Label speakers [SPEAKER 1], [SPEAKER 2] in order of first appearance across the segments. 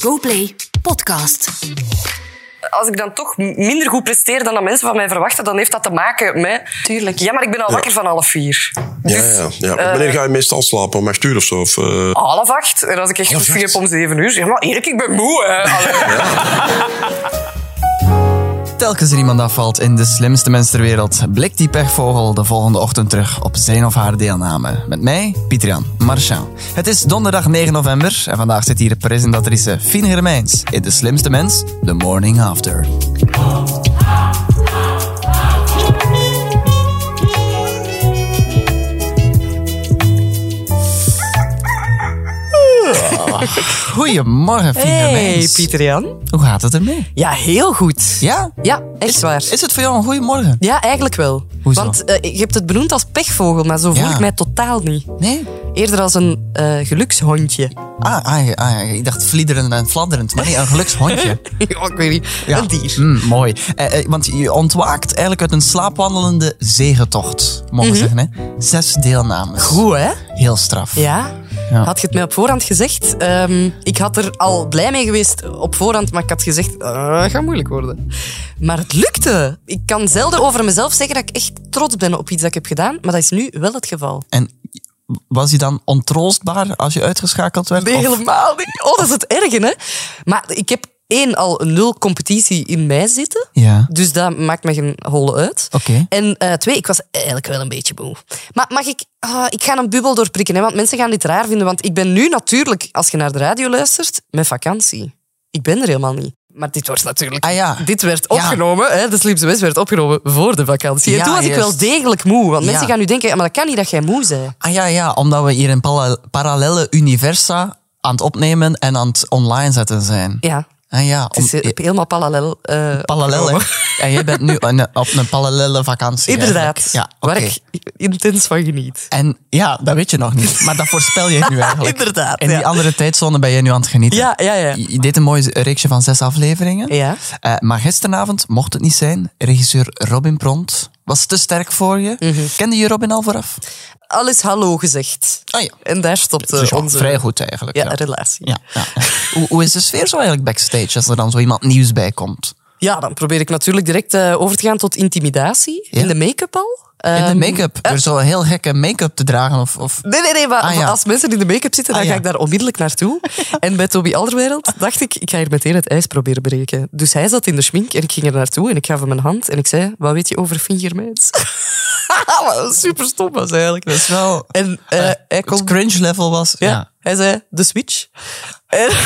[SPEAKER 1] GoPlay Podcast.
[SPEAKER 2] Als ik dan toch m- minder goed presteer dan de mensen van mij verwachten, dan heeft dat te maken met...
[SPEAKER 3] Tuurlijk.
[SPEAKER 2] Ja, maar ik ben al wakker van half vier.
[SPEAKER 4] Ja, ja, ja.
[SPEAKER 2] Eh,
[SPEAKER 4] Wanneer ga je meestal slapen? Om acht uur of zo? Of, eh,
[SPEAKER 2] Half acht. En als ik echt
[SPEAKER 4] Half
[SPEAKER 2] goesting
[SPEAKER 4] acht?
[SPEAKER 2] heb om zeven uur... Ja, maar oh, Erik, ik ben moe. Hè. Allee.
[SPEAKER 5] Telkens er iemand afvalt in de slimste mens ter wereld, blikt die pechvogel de volgende ochtend terug op zijn of haar deelname. Met mij, Pietrian Marchand. Het is donderdag 9 november en vandaag zit hier presentatrice Fien Hermijns in de slimste mens, The Morning After. Goedemorgen, Fien
[SPEAKER 3] Hey,
[SPEAKER 5] Hermijns.
[SPEAKER 3] Pieter-Jan.
[SPEAKER 5] Hoe gaat het ermee?
[SPEAKER 3] Ja, heel goed.
[SPEAKER 5] Ja?
[SPEAKER 3] Ja, echt waar.
[SPEAKER 5] Is het voor jou een goede morgen?
[SPEAKER 3] Ja, eigenlijk wel.
[SPEAKER 5] Hoezo?
[SPEAKER 3] Want eh, je hebt het benoemd als pechvogel, maar zo voel
[SPEAKER 5] Ja.
[SPEAKER 3] ik mij totaal niet.
[SPEAKER 5] Nee?
[SPEAKER 3] Eerder als een eh, gelukshondje.
[SPEAKER 5] Ah, ah, ja, ah, ja, ik dacht vliederend en fladderend, maar nee, een gelukshondje.
[SPEAKER 3] Ja, ik weet niet.
[SPEAKER 5] Ja.
[SPEAKER 3] Een dier.
[SPEAKER 5] Mm, mooi. Eh, eh, want je ontwaakt eigenlijk uit een slaapwandelende zegentocht, mogen we zeggen. Hè? Zes deelnames.
[SPEAKER 3] Mhm. Goed, hè?
[SPEAKER 5] Heel straf.
[SPEAKER 3] Ja.
[SPEAKER 5] Ja.
[SPEAKER 3] Had je het mij op voorhand gezegd? Ehm, ik had er al blij mee geweest op voorhand, maar ik had gezegd, eh, gaat moeilijk worden. Maar het lukte. Ik kan zelden over mezelf zeggen dat ik echt trots ben op iets dat ik heb gedaan, maar dat is nu wel het geval.
[SPEAKER 5] En was hij dan ontroostbaar als je uitgeschakeld werd?
[SPEAKER 3] Nee,
[SPEAKER 5] Of-
[SPEAKER 3] helemaal niet. Oh, dat is het erge, hè? Maar ik heb één al een nul competitie in mij zitten.
[SPEAKER 5] Ja.
[SPEAKER 3] Dus dat maakt me geen holle uit.
[SPEAKER 5] Oké.
[SPEAKER 3] En eh, twee, ik was eigenlijk wel een beetje moe. Maar mag ik... ah, ik ga een bubbel doorprikken, hè, want mensen gaan dit raar vinden. Want ik ben nu natuurlijk, als je naar de radio luistert, met vakantie. Ik ben er helemaal niet. Maar dit wordt natuurlijk...
[SPEAKER 5] Ah ja.
[SPEAKER 3] Dit werd
[SPEAKER 5] Ja.
[SPEAKER 3] opgenomen, hè, de Slimste West werd opgenomen voor de vakantie.
[SPEAKER 5] Ja,
[SPEAKER 3] en toen was ik wel
[SPEAKER 5] juist.
[SPEAKER 3] degelijk moe. Want
[SPEAKER 5] Ja.
[SPEAKER 3] mensen gaan nu denken, ja, maar dat kan niet dat jij moe bent.
[SPEAKER 5] Ah ja, ja, omdat we hier in pala- parallele universa aan het opnemen en aan het online zetten zijn.
[SPEAKER 3] Ja,
[SPEAKER 5] Ah ja, om,
[SPEAKER 3] het is eh, helemaal parallel. eh,
[SPEAKER 5] parallel, hè? En jij bent nu een- op een parallele vakantie.
[SPEAKER 3] Inderdaad.
[SPEAKER 5] eigenlijk. Ja,
[SPEAKER 3] Waar
[SPEAKER 5] oké.
[SPEAKER 3] ik intens van geniet.
[SPEAKER 5] En ja, dat weet je nog niet. Maar dat voorspel je nu eigenlijk.
[SPEAKER 3] Inderdaad,
[SPEAKER 5] In die
[SPEAKER 3] ja.
[SPEAKER 5] andere tijdzone ben je nu aan het genieten.
[SPEAKER 3] Ja, ja, ja.
[SPEAKER 5] Je je deed een mooie reeksje van zes afleveringen.
[SPEAKER 3] Ja.
[SPEAKER 5] Eh, maar gisteravond, mocht het niet zijn, regisseur Robin Pront was te sterk voor je.
[SPEAKER 3] Mhm.
[SPEAKER 5] Kende je Robin al vooraf?
[SPEAKER 3] Al is hallo gezegd.
[SPEAKER 5] Ah ja.
[SPEAKER 3] En daar stopt eh,
[SPEAKER 5] Dus ja,
[SPEAKER 3] onze
[SPEAKER 5] vrij goed eigenlijk.
[SPEAKER 3] ja,
[SPEAKER 5] ja.
[SPEAKER 3] relatie. Ja.
[SPEAKER 5] Ja, ja, ja. Hoe, hoe is de sfeer zo eigenlijk backstage als er dan zo iemand nieuws bij komt?
[SPEAKER 3] dan probeer ik natuurlijk direct eh, over te gaan tot intimidatie.
[SPEAKER 5] Ja.
[SPEAKER 3] In de make-up al.
[SPEAKER 5] In de
[SPEAKER 3] Ehm,
[SPEAKER 5] make-up? Door zo'n heel gekke make-up te dragen? Of, of...
[SPEAKER 3] Nee, nee, nee, maar
[SPEAKER 5] Ah, ja.
[SPEAKER 3] als mensen in de make-up zitten, dan
[SPEAKER 5] Ah,
[SPEAKER 3] ga
[SPEAKER 5] ja.
[SPEAKER 3] ik daar onmiddellijk naartoe. en bij Toby Alderwereld dacht ik, ik ga hier meteen het ijs proberen breken. Dus hij zat in de schmink en ik ging er naartoe en ik gaf hem een hand en ik zei, wat weet je over fingermaids? Super stom was eigenlijk.
[SPEAKER 5] Dat is wel...
[SPEAKER 3] En eh, hij
[SPEAKER 5] Het
[SPEAKER 3] komt
[SPEAKER 5] cringe level was...
[SPEAKER 3] Ja.
[SPEAKER 5] ja.
[SPEAKER 3] Hij zei, de switch. En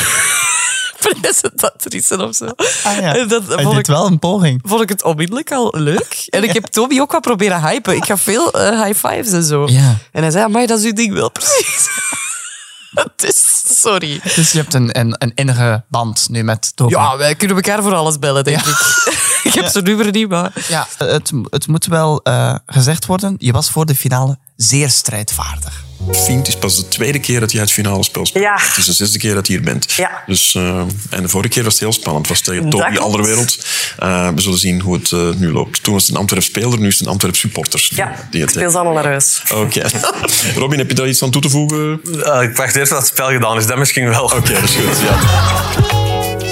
[SPEAKER 3] presentatrice of zo.
[SPEAKER 5] Ah, ja.
[SPEAKER 3] En dat
[SPEAKER 5] Hij
[SPEAKER 3] vond
[SPEAKER 5] deed
[SPEAKER 3] ik,
[SPEAKER 5] wel een poging.
[SPEAKER 3] vond ik het onmiddellijk al leuk. En ik heb Toby ook wat proberen hypen. Ik ga veel eh, high fives en zo.
[SPEAKER 5] Ja.
[SPEAKER 3] En hij zei, maar dat is uw ding wel, precies. Het is, sorry.
[SPEAKER 5] Dus je hebt een, een, een innige band nu met Toby.
[SPEAKER 3] Ja, wij kunnen elkaar voor alles bellen, denk ik. ik heb zijn nummer niet, maar...
[SPEAKER 5] Ja, Het, het moet wel eh, gezegd worden, je was voor de finale zeer strijdvaardig.
[SPEAKER 4] Fien, het is pas de tweede keer dat jij het finale spel speelt.
[SPEAKER 2] Ja.
[SPEAKER 4] Het is de zesde keer dat je hier bent.
[SPEAKER 2] Ja.
[SPEAKER 4] Dus, eh, en de vorige keer was het heel spannend. Het was tegen
[SPEAKER 2] Dat
[SPEAKER 4] Toby
[SPEAKER 2] klopt.
[SPEAKER 4] Alderwereld. Eh, we zullen zien hoe het eh, nu loopt. Toen was het een Antwerp speler, nu is het een Antwerp supporter.
[SPEAKER 2] Ja,
[SPEAKER 4] Die
[SPEAKER 2] ik
[SPEAKER 4] het-
[SPEAKER 2] speel ze allemaal naar huis.
[SPEAKER 4] Oké. Robin, heb je daar iets aan toe te voegen?
[SPEAKER 6] Eh, ik dacht eerst dat het spel gedaan is, dat misschien wel.
[SPEAKER 4] Oké, dat is goed. Ja.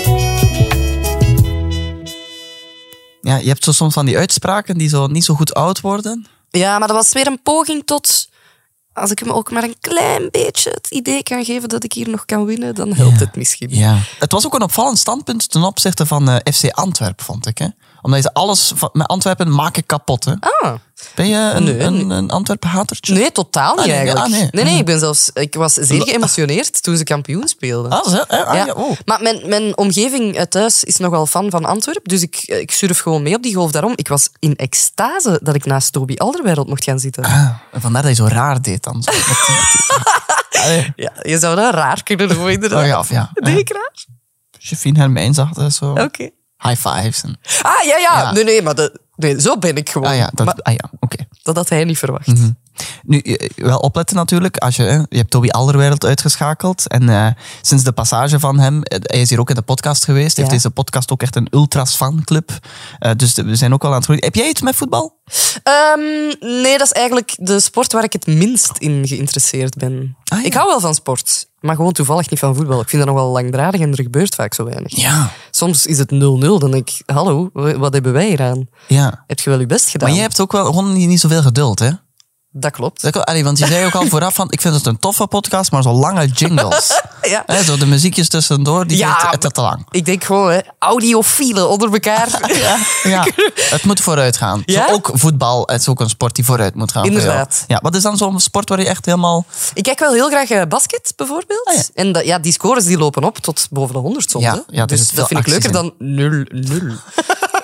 [SPEAKER 5] Ja, je hebt zo soms van die uitspraken die zo niet zo goed oud worden.
[SPEAKER 3] Ja, maar dat was weer een poging tot... Als ik hem ook maar een klein beetje het idee kan geven dat ik hier nog kan winnen, dan helpt het misschien.
[SPEAKER 5] Het was ook een opvallend standpunt ten opzichte van eh, FC Antwerpen, vond ik. Hè? Omdat je alles van, met Antwerpen maken kapot. Hè?
[SPEAKER 3] Ah.
[SPEAKER 5] Ben je een,
[SPEAKER 3] Nee.
[SPEAKER 5] een, een Antwerpen-hatertje?
[SPEAKER 3] Nee, totaal niet
[SPEAKER 5] Ah, nee,
[SPEAKER 3] eigenlijk.
[SPEAKER 5] ah, nee.
[SPEAKER 3] nee. nee, ik, ben zelfs, ik was zeer geëmotioneerd toen ze kampioen speelden.
[SPEAKER 5] Ah, zo, hè? Ah, ja. oh.
[SPEAKER 3] Maar mijn, mijn omgeving eh, thuis is nogal fan van Antwerpen, dus ik, eh, ik surf gewoon mee op die golf. Daarom, ik was in extase dat ik naast Toby Alderwereld mocht gaan zitten.
[SPEAKER 5] Ah, vandaar dat je zo raar deed dan. Zo, met die- die- Allee,
[SPEAKER 3] Ja, je zou dat raar kunnen noemen, inderdaad.
[SPEAKER 5] Oh ja, of ja.
[SPEAKER 3] Deed ik raar?
[SPEAKER 5] Jeffine Hermijn zag dat zo.
[SPEAKER 3] Oké.
[SPEAKER 5] High fives. En,
[SPEAKER 3] Ah, ja, ja,
[SPEAKER 5] Ja.
[SPEAKER 3] Nee, nee, maar dat, nee, zo ben ik gewoon.
[SPEAKER 5] ah ja, dat,
[SPEAKER 3] Maar
[SPEAKER 5] ah, ja oké.
[SPEAKER 3] dat had hij niet verwacht.
[SPEAKER 5] Nu, eh, wel opletten natuurlijk. Als je, hè, je hebt Toby Alderwereld uitgeschakeld. En eh, sinds de passage van hem, eh, hij is hier ook in de podcast geweest, heeft
[SPEAKER 3] Ja.
[SPEAKER 5] deze podcast ook echt een ultras fanclub. Eh, dus de- we zijn ook wel aan het groeien. Heb jij iets met voetbal?
[SPEAKER 3] Ehm, nee, dat is eigenlijk de sport waar ik het minst in geïnteresseerd ben.
[SPEAKER 5] Ah, ja.
[SPEAKER 3] Ik hou wel van sport, maar gewoon toevallig niet van voetbal. Ik vind dat nogal langdradig en er gebeurt vaak zo weinig.
[SPEAKER 5] Ja.
[SPEAKER 3] Soms is het 0-0, dan denk ik, hallo, w- wat hebben wij hier aan?
[SPEAKER 5] Ja.
[SPEAKER 3] Heb je wel je best gedaan?
[SPEAKER 5] Maar jij hebt ook wel gewoon niet niet zoveel geduld, hè?
[SPEAKER 3] Dat klopt.
[SPEAKER 5] Dat kan- Allee, want je zei ook al vooraf van, ik vind het een toffe podcast, maar zo lange jingles.
[SPEAKER 3] Ja.
[SPEAKER 5] Hè, zo de muziekjes tussendoor, die
[SPEAKER 3] Ja,
[SPEAKER 5] zijn te- te, te lang.
[SPEAKER 3] Ik denk gewoon, hè, audiofielen onder elkaar.
[SPEAKER 5] Ja, het moet vooruit gaan.
[SPEAKER 3] Ja?
[SPEAKER 5] Zo, ook voetbal, het is ook een sport die vooruit moet gaan.
[SPEAKER 3] Inderdaad.
[SPEAKER 5] Ja, wat is dan zo'n sport waar je echt helemaal...
[SPEAKER 3] Ik kijk wel heel graag eh, basket, bijvoorbeeld.
[SPEAKER 5] Ah, ja.
[SPEAKER 3] En dat, ja, die scores die lopen op tot boven de 100 soms.
[SPEAKER 5] Ja,
[SPEAKER 3] hè.
[SPEAKER 5] ja, er
[SPEAKER 3] dus
[SPEAKER 5] zit
[SPEAKER 3] dat
[SPEAKER 5] veel
[SPEAKER 3] vind ik
[SPEAKER 5] acties
[SPEAKER 3] leuker dan 0-0.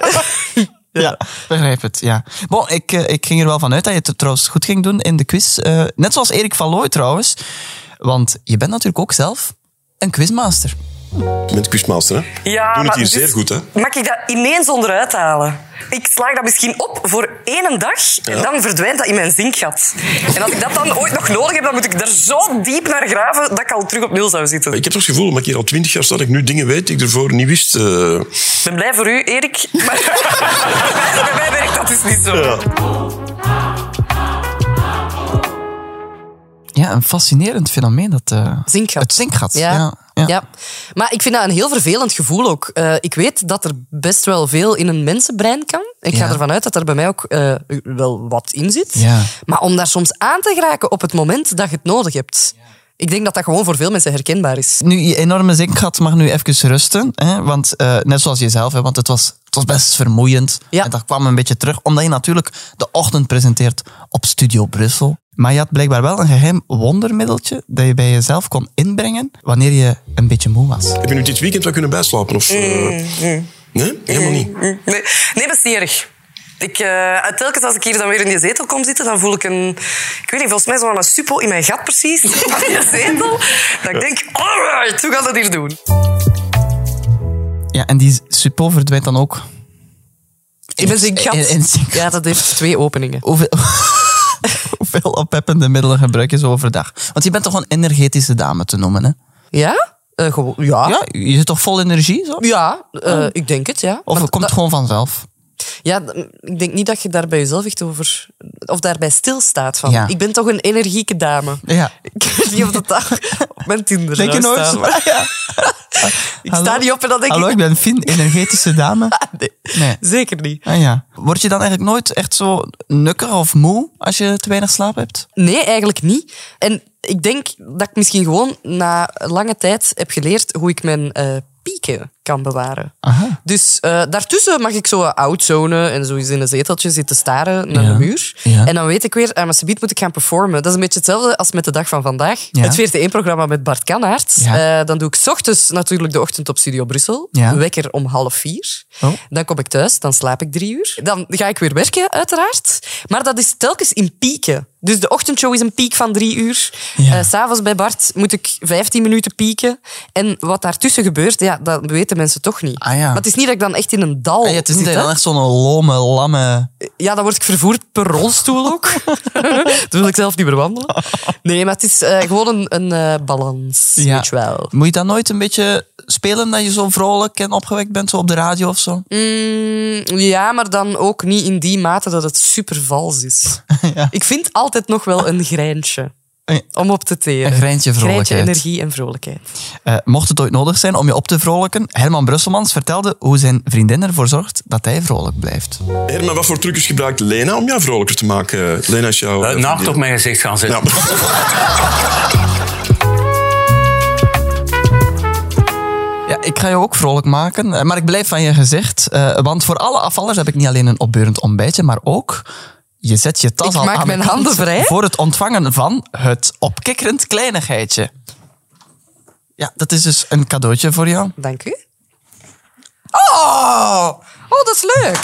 [SPEAKER 5] Ja. begrijp het, ja. Bon, ik, eh, ik ging er wel van uit dat je het trouwens goed ging doen in de quiz. Eh, net zoals Erik van Looy trouwens. Want je bent natuurlijk ook zelf een quizmaster.
[SPEAKER 4] Met Quizmaster, hè?
[SPEAKER 2] Ja,
[SPEAKER 4] Doen het
[SPEAKER 2] maar
[SPEAKER 4] hier
[SPEAKER 2] dus
[SPEAKER 4] zeer goed, hè?
[SPEAKER 2] Mag ik dat ineens onderuit halen? Ik slaag dat misschien op voor één dag en dan verdwijnt dat in mijn zinkgat. En als ik dat dan ooit nog nodig heb, dan moet ik er zo diep naar graven dat ik al terug op nul zou zitten.
[SPEAKER 4] Ik
[SPEAKER 2] Ik
[SPEAKER 4] heb toch het gevoel, omdat ik hier al twintig jaar sta, dat ik nu dingen weet die ik ervoor niet wist. eh.
[SPEAKER 2] ben blij voor u, Erik. Maar bij mij werkt dat dus niet zo.
[SPEAKER 5] Ja, een fascinerend fenomeen, dat... eh,
[SPEAKER 3] Zinkgat.
[SPEAKER 5] Het zinkgat,
[SPEAKER 3] Ja.
[SPEAKER 5] ja.
[SPEAKER 3] Ja. maar ik vind dat een heel vervelend gevoel ook. Eh, ik weet dat er best wel veel in een mensenbrein kan. Ik ga
[SPEAKER 5] Ja.
[SPEAKER 3] ervan uit dat er bij mij ook eh, wel wat in zit.
[SPEAKER 5] Ja.
[SPEAKER 3] Maar om daar soms aan te geraken op het moment dat je het nodig hebt. Ik denk dat dat gewoon voor veel mensen herkenbaar is.
[SPEAKER 5] Nu, je enorme zinkgat mag nu even rusten. Hè? Want eh, net zoals jezelf, hè, want het was, het was best vermoeiend.
[SPEAKER 3] Ja.
[SPEAKER 5] En dat kwam een beetje terug, omdat je natuurlijk de ochtend presenteert op Studio Brussel. Maar je had blijkbaar wel een geheim wondermiddeltje dat je bij jezelf kon inbrengen wanneer je een beetje moe was.
[SPEAKER 4] Heb je nu dit weekend wel kunnen bijslapen? Of,
[SPEAKER 2] Mm,
[SPEAKER 4] eh, Nee, helemaal niet.
[SPEAKER 2] Nee, nee, dat is niet erg. Ik, eh, telkens als ik hier dan weer in die zetel kom zitten, dan voel ik een... Ik weet niet, volgens mij zo'n suppo in mijn gat precies. in die zetel. Dat ik denk, alright, hoe gaat dat hier doen?
[SPEAKER 5] Ja, en die suppo verdwijnt dan ook.
[SPEAKER 3] In mijn zinkgat.
[SPEAKER 5] In- in zinkgat.
[SPEAKER 3] Ja, dat heeft twee openingen.
[SPEAKER 5] Hoeveel, hoeveel oppeppende middelen gebruik je zo overdag? Want je bent toch een energetische dame te noemen, hè?
[SPEAKER 3] Ja? Eh, gewoon, ja.
[SPEAKER 5] Ja, je zit toch vol energie? Zo?
[SPEAKER 3] Ja, eh, ik denk het, ja.
[SPEAKER 5] Of het komt gewoon vanzelf?
[SPEAKER 3] Ja, d- ik denk niet dat je daar bij jezelf echt over... Of daarbij stilstaat van.
[SPEAKER 5] Ja.
[SPEAKER 3] Ik ben toch een energieke dame.
[SPEAKER 5] Ja.
[SPEAKER 3] Ik weet niet of dat daar op mijn Tinder
[SPEAKER 5] Denk je
[SPEAKER 3] zou
[SPEAKER 5] nooit?
[SPEAKER 3] staan, maar
[SPEAKER 5] Ja.
[SPEAKER 3] Ik
[SPEAKER 5] Hallo?
[SPEAKER 3] sta niet op en dan denk
[SPEAKER 5] Hallo,
[SPEAKER 3] ik...
[SPEAKER 5] ik ben Fien, energetische dame. Ah, Nee.
[SPEAKER 3] Zeker niet.
[SPEAKER 5] Ah ja. Word je dan eigenlijk nooit echt zo nukker of moe als je te weinig slaap hebt?
[SPEAKER 3] Nee, eigenlijk niet. En ik denk dat ik misschien gewoon na lange tijd heb geleerd hoe ik mijn eh, pieken kan bewaren.
[SPEAKER 5] Aha.
[SPEAKER 3] Dus eh, daartussen mag ik zo outzonen en zo eens in een zeteltje zitten staren naar
[SPEAKER 5] Ja.
[SPEAKER 3] de muur.
[SPEAKER 5] Ja.
[SPEAKER 3] En dan weet ik weer, ah, maar subiet moet ik gaan performen. Dat is een beetje hetzelfde als met de dag van vandaag.
[SPEAKER 5] Ja.
[SPEAKER 3] Het 4-1-programma met Bart Kanaert.
[SPEAKER 5] Ja.
[SPEAKER 3] Eh, dan doe ik 's ochtends natuurlijk de ochtend op Studio Brussel.
[SPEAKER 5] Ja.
[SPEAKER 3] Wekker om half vier.
[SPEAKER 5] Oh.
[SPEAKER 3] Dan kom ik thuis, dan slaap ik drie uur. Dan ga ik weer werken, uiteraard. Maar dat is telkens in pieken. Dus de ochtendshow is een piek van drie uur.
[SPEAKER 5] Ja.
[SPEAKER 3] Eh, S S'avonds bij Bart moet ik 15 minuten pieken. En wat daartussen gebeurt, ja, dat weten mensen toch niet.
[SPEAKER 5] Ah, ja.
[SPEAKER 3] Maar het is niet dat ik dan echt in een dal
[SPEAKER 5] Ah ja, het is niet
[SPEAKER 3] zit,
[SPEAKER 5] dat je
[SPEAKER 3] hè.
[SPEAKER 5] dan echt zo'n lome, lamme...
[SPEAKER 3] Ja, dan word ik vervoerd per rolstoel ook. dan wil ik zelf niet meer wandelen. Nee, maar het is eh, gewoon een, een eh, balans,
[SPEAKER 5] Ja.
[SPEAKER 3] weet je wel.
[SPEAKER 5] Moet je dan nooit een beetje spelen dat je zo vrolijk en opgewekt bent, zo op de radio of zo?
[SPEAKER 3] Mm, ja, maar dan ook niet in die mate dat het super vals is.
[SPEAKER 5] Ja.
[SPEAKER 3] Ik vind altijd nog wel een grijntje
[SPEAKER 5] Een-
[SPEAKER 3] om op te teren.
[SPEAKER 5] een grijntje vrolijkheid.
[SPEAKER 3] Grijntje energie en vrolijkheid.
[SPEAKER 5] Eh, mocht het ooit nodig zijn om je op te vrolijken, Herman Brusselmans vertelde hoe zijn vriendin ervoor zorgt dat hij vrolijk blijft.
[SPEAKER 4] Herman, wat voor trucjes gebruikt Lena om jou vrolijker te maken? Lena is jouw...
[SPEAKER 6] Eh,
[SPEAKER 4] eh,
[SPEAKER 6] naakt
[SPEAKER 4] vriendin.
[SPEAKER 6] op mijn gezicht gaan zitten.
[SPEAKER 4] Nou,
[SPEAKER 5] Ja, ik ga je ook vrolijk maken, eh, maar ik blijf van je gezicht. eh, want voor alle afvallers heb ik niet alleen een opbeurend ontbijtje, maar ook... Je zet je tas
[SPEAKER 3] Ik
[SPEAKER 5] al
[SPEAKER 3] maak
[SPEAKER 5] aan
[SPEAKER 3] mijn
[SPEAKER 5] de kant
[SPEAKER 3] handen vrij.
[SPEAKER 5] voor het ontvangen van het opkikkerend kleinigheidje. Ja, dat is dus een cadeautje voor jou.
[SPEAKER 3] Dank u. Oh, oh dat is leuk.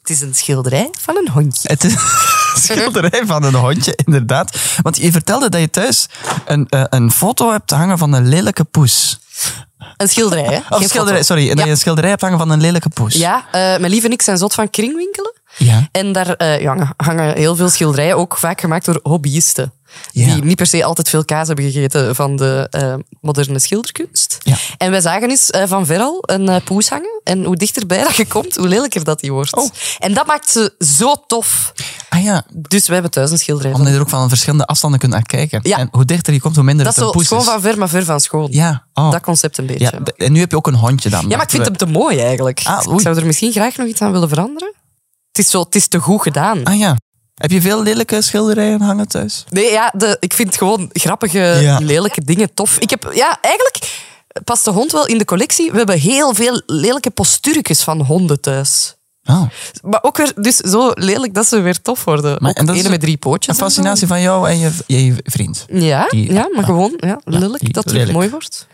[SPEAKER 3] Het is een schilderij van een hondje.
[SPEAKER 5] Het is een schilderij van een hondje, inderdaad. Want je vertelde dat je thuis een, eh, een foto hebt hangen van een lelijke poes.
[SPEAKER 3] Een schilderij, hè?
[SPEAKER 5] Of
[SPEAKER 3] Geen
[SPEAKER 5] schilderij,
[SPEAKER 3] foto.
[SPEAKER 5] sorry, dat
[SPEAKER 3] Ja.
[SPEAKER 5] je een schilderij hebt hangen van een lelijke poes.
[SPEAKER 3] Ja, eh, mijn lief en ik zijn zot van kringwinkelen.
[SPEAKER 5] Ja.
[SPEAKER 3] En daar eh, hangen, hangen heel veel schilderijen, ook vaak gemaakt door hobbyisten.
[SPEAKER 5] Ja.
[SPEAKER 3] Die niet per se altijd veel kaas hebben gegeten van de eh, moderne schilderkunst.
[SPEAKER 5] Ja.
[SPEAKER 3] En wij zagen eens eh, van ver al een eh, poes hangen. En hoe dichterbij dat je komt, hoe lelijker dat die
[SPEAKER 5] Oh.
[SPEAKER 3] wordt. En dat maakt ze zo tof.
[SPEAKER 5] Ah ja,
[SPEAKER 3] Dus we hebben thuis een schilderij. van.
[SPEAKER 5] omdat je er ook van verschillende afstanden kunt naar kijken.
[SPEAKER 3] Ja.
[SPEAKER 5] En hoe dichter je komt, hoe minder
[SPEAKER 3] Dat is
[SPEAKER 5] het een
[SPEAKER 3] zo
[SPEAKER 5] poes
[SPEAKER 3] schoon
[SPEAKER 5] is.
[SPEAKER 3] van ver, maar ver van schoon.
[SPEAKER 5] Ja, oh.
[SPEAKER 3] Dat concept een beetje.
[SPEAKER 5] ja, d- en nu heb je ook een hondje dan.
[SPEAKER 3] Ja, maar ik vind hem te mooi eigenlijk.
[SPEAKER 5] Ah, oei.
[SPEAKER 3] ik zou er misschien graag nog iets aan willen veranderen. Het is, zo, het is te goed gedaan.
[SPEAKER 5] Ah ja. Heb je veel lelijke schilderijen hangen thuis?
[SPEAKER 3] Nee, ja, de, ik vind gewoon grappige,
[SPEAKER 5] Ja.
[SPEAKER 3] lelijke dingen tof. Ik heb, ja, eigenlijk past de hond wel in de collectie. We hebben heel veel lelijke postuurtjes van honden thuis.
[SPEAKER 5] Oh.
[SPEAKER 3] Maar ook weer, dus zo lelijk dat ze weer tof worden.
[SPEAKER 5] Maar-
[SPEAKER 3] Ook
[SPEAKER 5] en dat is
[SPEAKER 3] ene met drie pootjes.
[SPEAKER 5] Een
[SPEAKER 3] en zo.
[SPEAKER 5] fascinatie van jou en je, je vriend.
[SPEAKER 3] Ja,
[SPEAKER 5] die-
[SPEAKER 3] ja, maar
[SPEAKER 5] ja.
[SPEAKER 3] gewoon ja, lelijk,
[SPEAKER 5] die-
[SPEAKER 3] dat het
[SPEAKER 5] lelijk.
[SPEAKER 3] mooi wordt.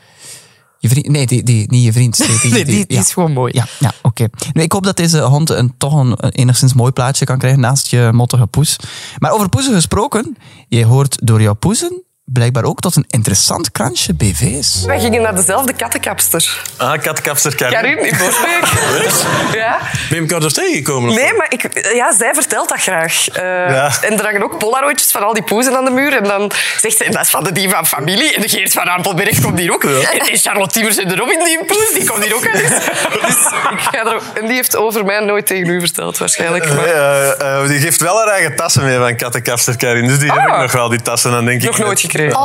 [SPEAKER 5] Je vriend nee, die, die, niet je vriend. Die,
[SPEAKER 3] Nee, die, die
[SPEAKER 5] ja.
[SPEAKER 3] is gewoon mooi.
[SPEAKER 5] Ja, ja oké. Nee, ik hoop dat deze hond een, toch een, een enigszins mooi plaatje kan krijgen naast je mottige poes. Maar over poezen gesproken, je hoort door jouw poezen blijkbaar ook tot een interessant kransje BV's.
[SPEAKER 2] Wij gingen naar dezelfde kattenkapster.
[SPEAKER 6] Ah, katkapster Karin.
[SPEAKER 2] Karin in Borsbeek. ja.
[SPEAKER 4] Ben je elkaar daar tegengekomen?
[SPEAKER 2] Nee, maar ik, ja, zij vertelt dat graag. Eh,
[SPEAKER 6] Ja.
[SPEAKER 2] En er hangen ook polaroidjes van al die poezen aan de muur. En dan zegt ze, en dat is van de dief van familie. En de Geert van Ampelberg komt hier ook. En, en Charlotte Timmers en de Robin die een poes, die komt hier ook aan. Dus ik ga er, en die heeft over mij nooit tegen u verteld, waarschijnlijk. Maar
[SPEAKER 6] Eh, eh, die geeft wel haar eigen tassen mee van kattenkapster Karin. Dus die heb ik
[SPEAKER 2] Ah.
[SPEAKER 6] nog wel, die tassen. Dan denk
[SPEAKER 2] nog
[SPEAKER 6] ik
[SPEAKER 2] nooit gekregen.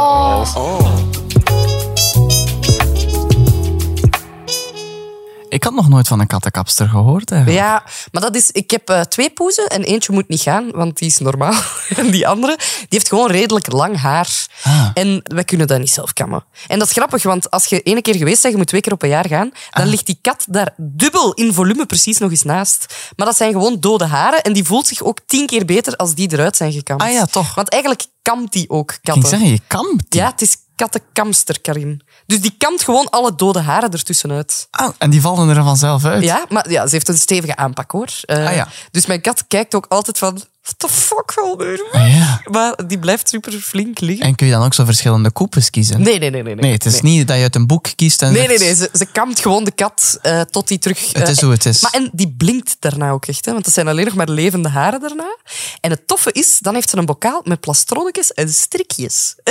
[SPEAKER 5] Ik had nog nooit van een kattenkapster gehoord. eigenlijk.
[SPEAKER 3] Ja, maar dat is, ik heb eh, twee poezen en eentje moet niet gaan, want die is normaal. En die andere, die heeft gewoon redelijk lang haar.
[SPEAKER 5] Ah.
[SPEAKER 3] En wij kunnen dat niet zelf kammen. En dat is grappig, want als je ene keer geweest bent, je moet twee keer op een jaar gaan, dan
[SPEAKER 5] Ah.
[SPEAKER 3] ligt die kat daar dubbel in volume precies nog eens naast. Maar dat zijn gewoon dode haren en die voelt zich ook tien keer beter als die eruit zijn gekamd.
[SPEAKER 5] Ah ja, toch.
[SPEAKER 3] Want eigenlijk kamt die ook
[SPEAKER 5] Ik ging
[SPEAKER 3] katten.
[SPEAKER 5] zeggen, je kampt. die.
[SPEAKER 3] ja, het is kattenkamster, Karin. Dus die kamt gewoon alle dode haren ertussenuit.
[SPEAKER 5] Ah, en die vallen er vanzelf uit.
[SPEAKER 3] Ja, maar ja, ze heeft een stevige aanpak hoor. Eh,
[SPEAKER 5] Ah, ja.
[SPEAKER 3] Dus mijn kat kijkt ook altijd van. What the fuck, Halder?
[SPEAKER 5] Ah, ja.
[SPEAKER 3] Maar die blijft super flink liggen.
[SPEAKER 5] En kun je dan ook zo verschillende coupes kiezen?
[SPEAKER 3] Nee, nee, nee, nee.
[SPEAKER 5] Nee, het is niet dat je uit een boek kiest en
[SPEAKER 3] Nee, nee,
[SPEAKER 5] zegt,
[SPEAKER 3] nee. Ze, ze kampt gewoon de kat eh, tot die terug...
[SPEAKER 5] Het
[SPEAKER 3] eh,
[SPEAKER 5] is hoe het is.
[SPEAKER 3] Maar en die blinkt daarna ook echt, hè, want dat zijn alleen nog maar levende haren daarna. En het toffe is, dan heeft ze een bokaal met plastronnetjes en strikjes.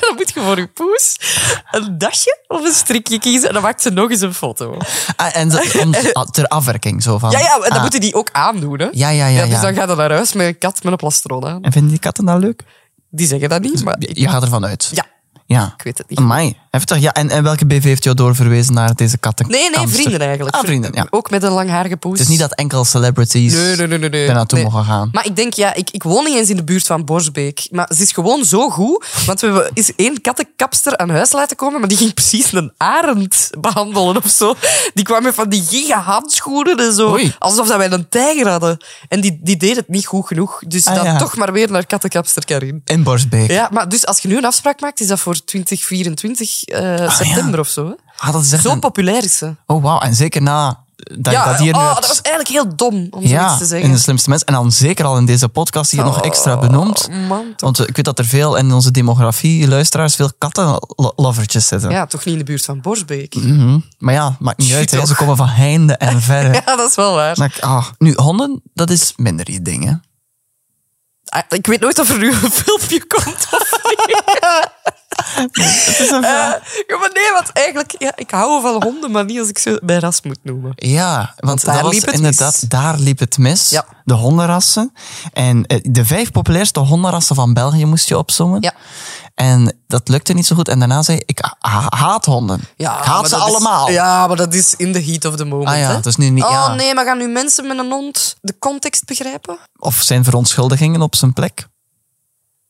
[SPEAKER 3] dan moet je voor je poes een dasje of een strikje kiezen en dan maakt ze nog eens een foto.
[SPEAKER 5] Ah, en zo- om, ah, ter afwerking zo van.
[SPEAKER 3] Ja, ja, en dan
[SPEAKER 5] ah.
[SPEAKER 3] moeten die ook aandoen, hè.
[SPEAKER 5] Ja, ja, ja,
[SPEAKER 3] dus
[SPEAKER 5] ja.
[SPEAKER 3] dan gaat ze naar huis met een kat met een plastron aan.
[SPEAKER 5] En vinden die katten dat leuk?
[SPEAKER 3] Die zeggen dat niet, maar ik,
[SPEAKER 5] Je gaat ervan uit.
[SPEAKER 3] ja.
[SPEAKER 5] Ja.
[SPEAKER 3] Ik weet het niet.
[SPEAKER 5] Amai, heftig. Ja, en, en welke BV heeft jou doorverwezen naar deze katten?
[SPEAKER 3] Nee, nee, vrienden eigenlijk.
[SPEAKER 5] Ah, vrienden, ja.
[SPEAKER 3] Ook met een langharige poes.
[SPEAKER 5] Het is niet dat enkel celebrities
[SPEAKER 3] Nee, nee, nee, nee. nee.
[SPEAKER 5] daar naartoe
[SPEAKER 3] Nee.
[SPEAKER 5] mogen gaan.
[SPEAKER 3] Maar ik denk, ja, ik, ik woon niet eens in de buurt van Borsbeek. Maar ze is gewoon zo goed. Want we hebben eens één kattenkapster aan huis laten komen, maar die ging precies een arend behandelen of zo. Die kwam met van die giga handschoenen en zo.
[SPEAKER 5] Oei.
[SPEAKER 3] Alsof dat wij een tijger hadden. En die, die deed het niet goed genoeg. Dus
[SPEAKER 5] Ah,
[SPEAKER 3] dan
[SPEAKER 5] ja.
[SPEAKER 3] toch maar weer naar kattenkapster Karin.
[SPEAKER 5] In Borsbeek.
[SPEAKER 3] Ja, maar dus als je nu een afspraak maakt, is dat voor 2024 eh, september of zo. Hè?
[SPEAKER 5] Ah, dat is echt
[SPEAKER 3] Zo
[SPEAKER 5] een-
[SPEAKER 3] populair is ze.
[SPEAKER 5] Oh, wauw. En zeker na dat je dat hier nu
[SPEAKER 3] oh,
[SPEAKER 5] hebt.
[SPEAKER 3] dat was eigenlijk heel dom om
[SPEAKER 5] ja,
[SPEAKER 3] zoiets te
[SPEAKER 5] in
[SPEAKER 3] zeggen. Oh.
[SPEAKER 5] de slimste mensen. En dan zeker al in deze podcast hier nog extra benoemd.
[SPEAKER 3] man, toch.
[SPEAKER 5] Want eh, ik weet dat er veel in onze demografie, luisteraars, veel kattenlovertjes zitten.
[SPEAKER 3] Ja, toch niet in de buurt van Borsbeek.
[SPEAKER 5] Mm. Maar ja, maakt niet uit. hè.
[SPEAKER 3] toch.
[SPEAKER 5] Ze komen van heinde en verre.
[SPEAKER 3] Mhm. Ja, dat is wel waar.
[SPEAKER 5] Dan denk ik, ah. Nu, honden, dat is minder je ding, hè?
[SPEAKER 3] Ah, Ik weet nooit of er nu een filmpje komt of niet. Eh, ja, maar nee, want eigenlijk, ja, ik hou van honden, maar niet als ik ze bij ras moet noemen.
[SPEAKER 5] Ja, want,
[SPEAKER 3] daar
[SPEAKER 5] dat was
[SPEAKER 3] liep het
[SPEAKER 5] inderdaad,
[SPEAKER 3] mis.
[SPEAKER 5] daar liep het mis.
[SPEAKER 3] Ja.
[SPEAKER 5] De hondenrassen. En eh, de vijf populairste hondenrassen van België moest je opzommen.
[SPEAKER 3] Ja.
[SPEAKER 5] En dat lukte niet zo goed. En daarna zei ik, ik ha- haat honden. ik haat
[SPEAKER 3] maar
[SPEAKER 5] ze
[SPEAKER 3] dat is-
[SPEAKER 5] allemaal.
[SPEAKER 3] ja, maar dat is in the heat of the moment.
[SPEAKER 5] Ah ja,
[SPEAKER 3] hè.
[SPEAKER 5] het is nu niet-
[SPEAKER 3] Oh
[SPEAKER 5] ja.
[SPEAKER 3] nee, maar gaan nu mensen met een hond de context begrijpen?
[SPEAKER 5] Of zijn verontschuldigingen op zijn plek.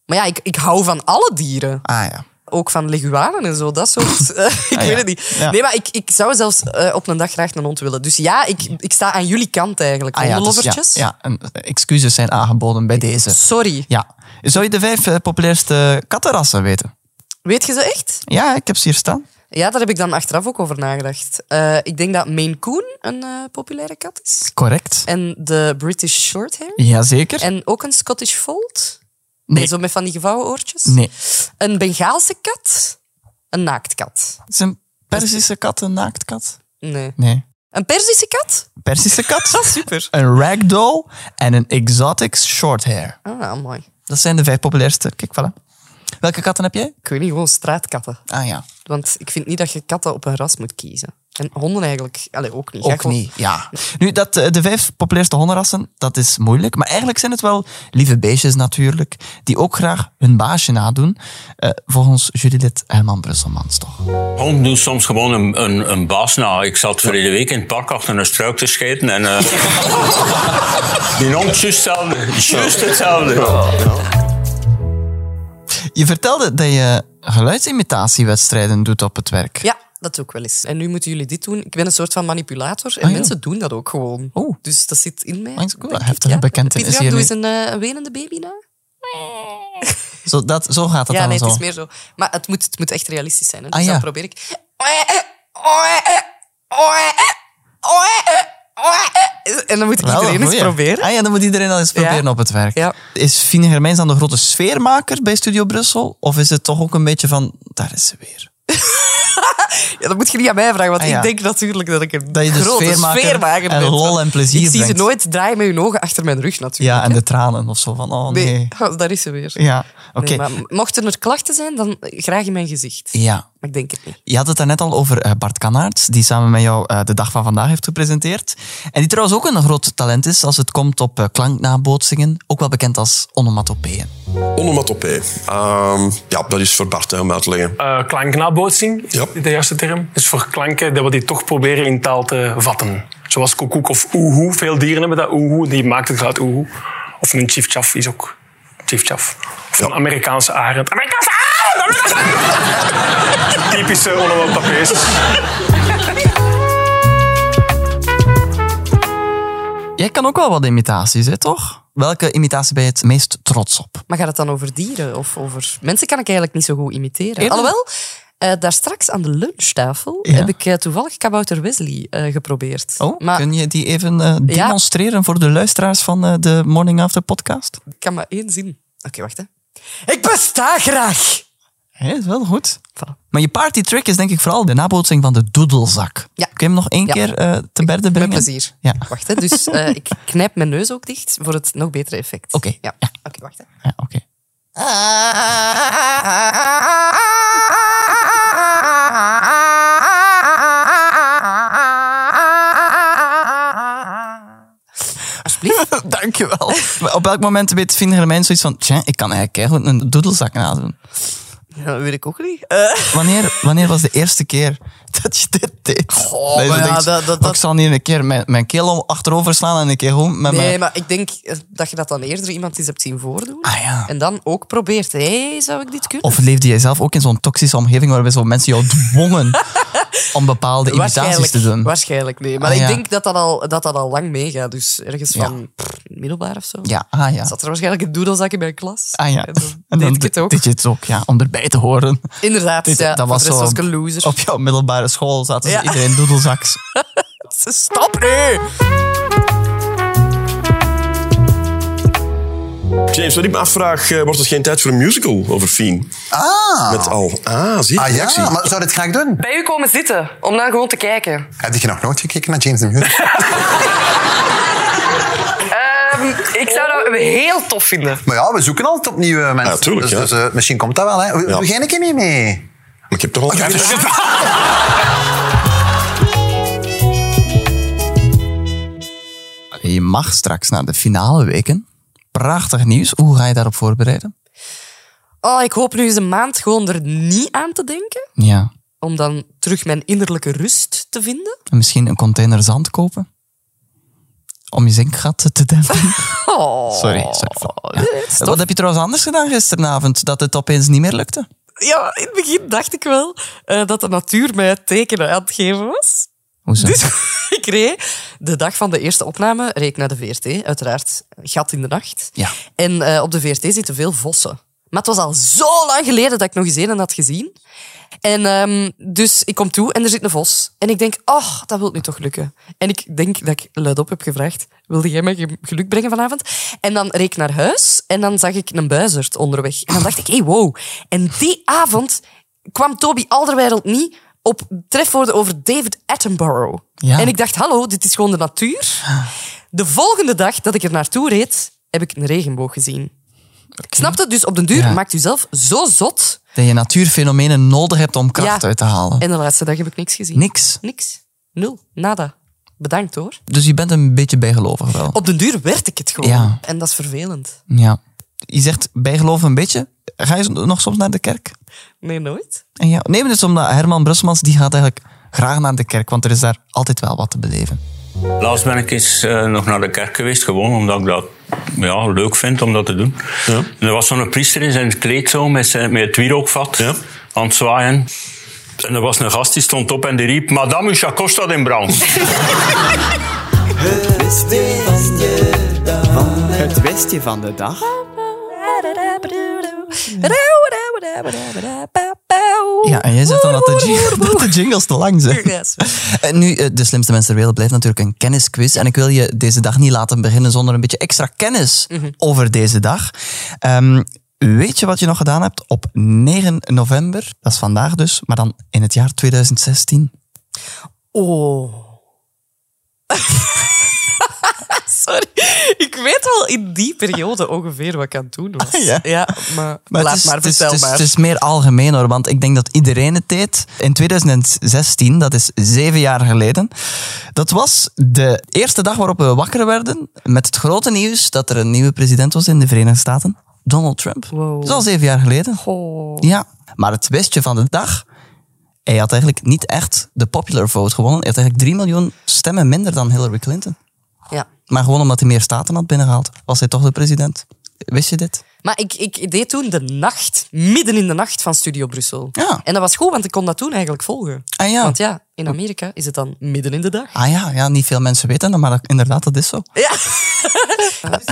[SPEAKER 3] Maar ja, ik, ik hou van alle dieren.
[SPEAKER 5] Ah ja.
[SPEAKER 3] Ook van leguanen en zo, dat soort. eh, ik
[SPEAKER 5] Ah, ja.
[SPEAKER 3] weet het niet.
[SPEAKER 5] Ja.
[SPEAKER 3] Nee, maar ik, ik zou zelfs eh, op een dag graag een hond willen. Dus ja, ik, ik sta aan jullie kant eigenlijk.
[SPEAKER 5] Ah, ja, het is-
[SPEAKER 3] Hondenlovertjes.
[SPEAKER 5] ja, ja, en excuses zijn aangeboden bij deze.
[SPEAKER 3] Sorry.
[SPEAKER 5] Ja. Zou je de vijf eh, populairste kattenrassen weten?
[SPEAKER 3] Weet je ze echt?
[SPEAKER 5] Ja, ik heb ze hier staan.
[SPEAKER 3] Ja, daar heb ik dan achteraf ook over nagedacht. Eh, ik denk dat Maine Coon een eh, populaire kat is.
[SPEAKER 5] Correct.
[SPEAKER 3] En de British Shorthair.
[SPEAKER 5] Jazeker.
[SPEAKER 3] En ook een Scottish Fold.
[SPEAKER 5] Nee.
[SPEAKER 3] Zo met van die gevouwen oortjes.
[SPEAKER 5] Nee.
[SPEAKER 3] Een Bengaalse kat. Een naaktkat.
[SPEAKER 5] Is een Persische kat een naaktkat?
[SPEAKER 3] Nee.
[SPEAKER 5] Nee.
[SPEAKER 3] Een Perzische kat?
[SPEAKER 5] Persische kat.
[SPEAKER 3] Dat is super.
[SPEAKER 5] Een ragdoll en een exotic shorthair.
[SPEAKER 3] Ah, mooi.
[SPEAKER 5] Dat zijn de vijf populairste. Kijk, voilà. Welke katten heb jij?
[SPEAKER 3] Ik weet niet, gewoon straatkatten.
[SPEAKER 5] Ah ja,
[SPEAKER 3] Want ik vind niet dat je katten op een ras moet kiezen. En honden eigenlijk allee, ook niet. Ga
[SPEAKER 5] ook
[SPEAKER 3] gewoon-
[SPEAKER 5] niet. Ja. Nu, dat, eh, de vijf populairste hondenrassen, dat is moeilijk. Maar eigenlijk zijn het wel lieve beestjes natuurlijk, die ook graag hun baasje nadoen. Eh, volgens jurylid Herman Brusselmans toch.
[SPEAKER 7] Honden doen soms gewoon een, een, een baas na. Ik zat verleden week in het park achter een struik te scheten en... eh die hond juist hetzelfde. Juist hetzelfde.
[SPEAKER 5] Je vertelde dat je geluidsimitatiewedstrijden doet op het werk.
[SPEAKER 3] Ja, dat ook wel eens. En nu moeten jullie dit doen. Ik ben een soort van manipulator en
[SPEAKER 5] Ah, ja.
[SPEAKER 3] mensen doen dat ook gewoon.
[SPEAKER 5] Oh.
[SPEAKER 3] Dus dat zit in mij.
[SPEAKER 5] Oh, dat is cool.
[SPEAKER 3] denk ik,
[SPEAKER 5] Heftige bekentenis
[SPEAKER 3] Pieter Jan,
[SPEAKER 5] hier
[SPEAKER 3] doe eens
[SPEAKER 5] nu.
[SPEAKER 3] een eh, een wenende baby na.
[SPEAKER 5] Zo, dat, zo gaat dat
[SPEAKER 3] ja,
[SPEAKER 5] dan
[SPEAKER 3] nee,
[SPEAKER 5] zo.
[SPEAKER 3] het is meer zo. Maar het moet, het moet echt realistisch zijn. Hè? Dus
[SPEAKER 5] Ah, ja.
[SPEAKER 3] dan probeer ik... eh, eh, En dan moet ik
[SPEAKER 5] Wel een
[SPEAKER 3] iedereen eens
[SPEAKER 5] goeie.
[SPEAKER 3] proberen.
[SPEAKER 5] Ah ja, dan moet iedereen al eens
[SPEAKER 3] Ja.
[SPEAKER 5] proberen op het werk.
[SPEAKER 3] Ja.
[SPEAKER 5] Is Fine Germijns dan de grote sfeermaker bij Studio Brussel? Of is het toch ook een beetje van, daar is ze weer?
[SPEAKER 3] Ja, dat moet je niet aan mij vragen, want
[SPEAKER 5] Ah, ja.
[SPEAKER 3] ik denk natuurlijk dat ik een
[SPEAKER 5] Dat je de
[SPEAKER 3] grote
[SPEAKER 5] sfeermaker
[SPEAKER 3] sfeermaker
[SPEAKER 5] en
[SPEAKER 3] ben.
[SPEAKER 5] lol en plezier
[SPEAKER 3] Ik zie
[SPEAKER 5] brengt.
[SPEAKER 3] ze nooit draaien met hun ogen achter mijn rug natuurlijk.
[SPEAKER 5] Ja, en de tranen of zo van, oh nee.
[SPEAKER 3] Nee, oh, daar is ze weer.
[SPEAKER 5] Ja, oké.
[SPEAKER 3] Nee, maar mochten er klachten zijn, dan graag in mijn gezicht.
[SPEAKER 5] Ja.
[SPEAKER 3] Maar ik denk het niet.
[SPEAKER 5] Je had het daarnet al over eh, Bart Kanaerts, die samen met jou eh, de dag van vandaag heeft gepresenteerd. En die trouwens ook een groot talent is als het komt op eh, klanknabootsingen, ook wel bekend als onomatopeeën.
[SPEAKER 4] Onomatopee. Ehm, ja, dat is voor Bart hè, om uit te leggen.
[SPEAKER 6] Ah.
[SPEAKER 8] Eh, klanknabootsing is
[SPEAKER 4] Ja.
[SPEAKER 8] de juiste term. Dus voor klanken dat we die toch proberen in taal te vatten. Zoals koekoek of oehoe. Veel dieren hebben dat oehoe. Die maakt het geluid oehoe. Of een chief-chaf is ook chief-chaf. Of een
[SPEAKER 4] Ja.
[SPEAKER 8] Amerikaanse arend. Amerikaanse arend! Amerikaanse arend! Typische onomatopees.
[SPEAKER 5] Jij kan ook wel wat imitaties, hè, toch? Welke imitatie ben je het meest trots op?
[SPEAKER 3] Maar gaat het dan over dieren of over... Mensen kan ik eigenlijk niet zo goed imiteren.
[SPEAKER 5] Eerder?
[SPEAKER 3] Alhoewel, eh, daar straks aan de lunchtafel
[SPEAKER 5] Ja.
[SPEAKER 3] heb ik eh, toevallig kabouter Wesley eh, geprobeerd.
[SPEAKER 5] Oh,
[SPEAKER 3] maar
[SPEAKER 5] kun je die even eh, demonstreren voor de luisteraars van eh, de Morning After podcast?
[SPEAKER 3] ik kan maar één zin. Oké, wacht hè. Ik besta graag!
[SPEAKER 5] Hé, is wel goed.
[SPEAKER 3] Voilà.
[SPEAKER 5] Maar je party trick is denk ik vooral de nabootsing van de doedelzak.
[SPEAKER 3] Ja.
[SPEAKER 5] Kun je hem nog één
[SPEAKER 3] Ja.
[SPEAKER 5] keer eh, te berde brengen?
[SPEAKER 3] Met plezier.
[SPEAKER 5] Ja.
[SPEAKER 3] Wacht hè, dus eh, ik knijp mijn neus ook dicht voor het nog betere effect.
[SPEAKER 5] Oké.
[SPEAKER 3] Ja.
[SPEAKER 5] Ja.
[SPEAKER 3] Oké, wacht hè.
[SPEAKER 5] Ja, oké.
[SPEAKER 3] Alsjeblieft.
[SPEAKER 5] Dankjewel. Maar op welk moment weet Fien Germijn zoiets van... Tja, ik kan eigenlijk goed een doedelzak nadoen.
[SPEAKER 3] Ja, dat weet ik ook niet. Eh,
[SPEAKER 5] Wanneer, wanneer was de eerste keer dat je dit deed?
[SPEAKER 3] Goh,
[SPEAKER 5] Dat je zo
[SPEAKER 3] maar ja, dat- dat-
[SPEAKER 5] "Oh, Ik
[SPEAKER 3] dat-
[SPEAKER 5] zal hier een keer mijn, mijn keel om- achterover slaan en een keer gewoon met
[SPEAKER 3] nee,
[SPEAKER 5] mijn...
[SPEAKER 3] maar ik denk eh, dat je dat dan eerder iemand eens hebt zien voordoen.
[SPEAKER 5] Ah, ja.
[SPEAKER 3] En dan ook probeert. Hé, hey, zou ik dit kunnen?
[SPEAKER 5] Of leefde jij zelf ook in zo'n toxische omgeving waarbij zo mensen jou dwongen om bepaalde imitaties
[SPEAKER 3] waarschijnlijk,
[SPEAKER 5] te doen?
[SPEAKER 3] waarschijnlijk nee. Maar
[SPEAKER 5] Ah,
[SPEAKER 3] ik
[SPEAKER 5] ja.
[SPEAKER 3] denk dat dat, al, dat dat al lang meegaat. Dus ergens
[SPEAKER 5] Ja.
[SPEAKER 3] van pff, middelbaar of zo.
[SPEAKER 5] Ja, ah ja.
[SPEAKER 3] Zat er waarschijnlijk een doedelzak in mijn klas.
[SPEAKER 5] Ah ja.
[SPEAKER 3] En dan deed ik het ook.
[SPEAKER 5] Deed je het ook, ja. Om erbij te horen.
[SPEAKER 3] Inderdaad,
[SPEAKER 5] Dit-
[SPEAKER 3] ja,
[SPEAKER 5] dat was
[SPEAKER 3] voor de
[SPEAKER 5] zo.
[SPEAKER 3] rest was ik een loser.
[SPEAKER 5] Op jouw middelbare school zaten ze
[SPEAKER 3] Ja.
[SPEAKER 5] iedereen doedelzaks.
[SPEAKER 3] Stop nu!
[SPEAKER 4] James, wat ik me afvraag, eh, wordt het geen tijd voor een musical over Fien? Ah. Met al. Ah, zie je
[SPEAKER 9] Ah
[SPEAKER 4] reactie.
[SPEAKER 9] ja, maar zou je dit graag doen?
[SPEAKER 2] Bij u komen zitten, om dan gewoon te kijken.
[SPEAKER 9] Heb je nog nooit gekeken naar James de Muur?
[SPEAKER 2] Ehm, ik zou dat heel tof vinden.
[SPEAKER 9] Maar ja, we zoeken altijd opnieuw eh, mensen.
[SPEAKER 4] Ja, tuurlijk,
[SPEAKER 9] dus
[SPEAKER 4] ja.
[SPEAKER 9] dus, eh, misschien komt dat wel. Hè. We,
[SPEAKER 4] Ja.
[SPEAKER 9] we gaan een keer niet mee.
[SPEAKER 4] Maar ik heb
[SPEAKER 9] Ah,
[SPEAKER 4] toch al...
[SPEAKER 5] Je mag straks naar de finale weken. Prachtig nieuws. Hoe ga je daarop voorbereiden?
[SPEAKER 3] Oh, ik hoop nu eens een maand gewoon er niet aan te denken.
[SPEAKER 5] Ja.
[SPEAKER 3] Om dan terug mijn innerlijke rust te vinden.
[SPEAKER 5] En Misschien een container zand kopen? Om je zinkgat te dempen?
[SPEAKER 3] Oh.
[SPEAKER 5] Sorry. sorry. Ja.
[SPEAKER 3] nee, het is
[SPEAKER 5] Wat heb je trouwens anders gedaan gisteravond? Dat het opeens niet meer lukte?
[SPEAKER 3] Ja, in het begin dacht ik wel eh, dat de natuur mij het tekenen aan het geven was.
[SPEAKER 5] Hoezo?
[SPEAKER 3] Dus ik reed de dag van de eerste opname reed ik naar de VRT, uiteraard. Gat in de nacht.
[SPEAKER 5] Ja.
[SPEAKER 3] En eh, op de VRT zitten veel vossen. Maar het was al zo lang geleden dat ik nog eens een had gezien. En ehm, dus ik kom toe en er zit een vos. En ik denk, oh, dat wil nu toch lukken. En ik denk dat ik luidop heb gevraagd, wilde jij mij ge- geluk brengen vanavond? En dan reed ik naar huis en dan zag ik een buizerd onderweg. En dan dacht ik, hey, wow. En die avond kwam Toby Alderweireld niet op trefwoorden over David Attenborough.
[SPEAKER 5] Ja.
[SPEAKER 3] En ik dacht, hallo, dit is gewoon de natuur. De volgende dag dat ik er naartoe reed, heb ik een regenboog gezien. Snap je? Dus op den duur
[SPEAKER 5] Ja.
[SPEAKER 3] maakt u zelf zo zot.
[SPEAKER 5] Dat je natuurfenomenen nodig hebt om kracht
[SPEAKER 3] Ja.
[SPEAKER 5] uit te halen.
[SPEAKER 3] En de laatste dag heb ik niks gezien.
[SPEAKER 5] Niks.
[SPEAKER 3] Niks. Nul. Nada. Bedankt hoor.
[SPEAKER 5] Dus je bent een beetje bijgelovig wel.
[SPEAKER 3] Op den duur werd ik het gewoon.
[SPEAKER 5] Ja.
[SPEAKER 3] En dat is vervelend.
[SPEAKER 5] Ja. Je zegt bijgelovig een beetje. Ga je nog soms naar de kerk?
[SPEAKER 3] Nee, nooit.
[SPEAKER 5] En ja, nee, maar het is omdat Herman Brusselmans die gaat eigenlijk graag naar de kerk, want er is daar altijd wel wat te beleven.
[SPEAKER 7] Laatst ben ik eens eh, nog naar de kerk geweest, gewoon omdat ik dat ja, leuk vind om dat te doen. En er was zo'n priester in zijn kleed zo, met, zijn, met het wierookvat aan het zwaaien. En er was een gast die stond op en die riep: Madame, uw chacos staat in brand.
[SPEAKER 10] Het westje van de dag.
[SPEAKER 5] Ja, en jij zegt dan dat de, jing- dat de jingles te lang zijn.
[SPEAKER 3] Ja, sorry.
[SPEAKER 5] En nu, eh, de slimste mensen ter wereld blijft natuurlijk een kennisquiz. En ik wil je deze dag niet laten beginnen zonder een beetje extra kennis over deze dag. Ehm, weet je wat je nog gedaan hebt op 9 november? Dat is vandaag dus, maar dan in het jaar 2016.
[SPEAKER 3] Oh. Sorry. Ik weet wel in die periode ongeveer wat ik aan het doen was.
[SPEAKER 5] Ah, Ja.
[SPEAKER 3] maar,
[SPEAKER 5] Maar
[SPEAKER 3] laat
[SPEAKER 5] het is-
[SPEAKER 3] maar
[SPEAKER 5] het is-
[SPEAKER 3] vertel
[SPEAKER 5] het is-
[SPEAKER 3] maar.
[SPEAKER 5] Het is meer algemeen hoor, want ik denk dat iedereen het deed. In 2016, dat is zeven jaar geleden, dat was de eerste dag waarop we wakker werden met het grote nieuws dat er een nieuwe president was in de Verenigde Staten, Donald Trump. Dat is al zeven jaar geleden. Ja, maar het westje van de dag, hij had eigenlijk niet echt de popular vote gewonnen. Hij had eigenlijk 3 miljoen stemmen minder dan Hillary Clinton.
[SPEAKER 3] Ja.
[SPEAKER 5] Maar gewoon omdat hij meer staten had binnengehaald, was hij toch de president. Wist je dit?
[SPEAKER 3] Maar ik, ik deed toen de nacht, midden in de nacht van Studio Brussel.
[SPEAKER 5] Ja.
[SPEAKER 3] En dat was goed, want ik kon dat toen eigenlijk volgen.
[SPEAKER 5] Ah ja.
[SPEAKER 3] Want ja, in Amerika is het dan midden in de dag.
[SPEAKER 5] Ah ja, ja, niet veel mensen weten dat, maar dat- inderdaad, dat is zo. Ah.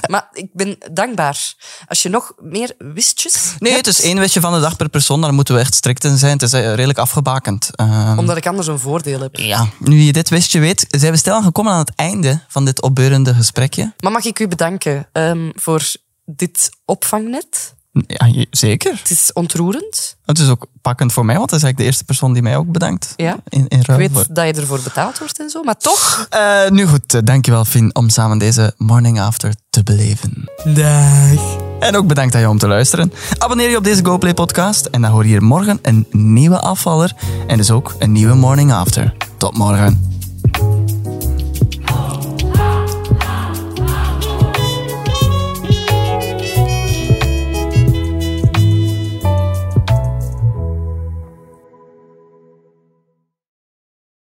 [SPEAKER 3] Maar ik ben dankbaar. Als je nog meer wistjes
[SPEAKER 5] Nee,
[SPEAKER 3] hebt,
[SPEAKER 5] het is één wetje van de dag per persoon, daar moeten we echt strikt in zijn. Het is eh, redelijk afgebakend. Ehm,
[SPEAKER 3] Omdat ik anders een voordeel heb.
[SPEAKER 5] ja, nu je dit wistje weet, zijn we stil gekomen aan het einde van dit opbeurende gesprekje.
[SPEAKER 3] Maar mag ik u bedanken ehm, voor dit opvangnet?
[SPEAKER 5] Ja, je- zeker.
[SPEAKER 3] Het is ontroerend.
[SPEAKER 5] Het is ook pakkend voor mij, want dat is eigenlijk de eerste persoon die mij ook bedankt.
[SPEAKER 3] Ja.
[SPEAKER 5] In, in
[SPEAKER 3] Ik
[SPEAKER 5] ruil
[SPEAKER 3] weet
[SPEAKER 5] voor-
[SPEAKER 3] dat je ervoor betaald wordt en zo, maar toch.
[SPEAKER 5] Eh, nu goed, eh, dankjewel Fien om samen deze morning after te beleven.
[SPEAKER 3] Dag.
[SPEAKER 5] En ook bedankt aan jou om te luisteren. Abonneer je op deze GoPlay podcast en dan hoor je hier morgen een nieuwe afvaller en dus ook een nieuwe morning after. Tot morgen.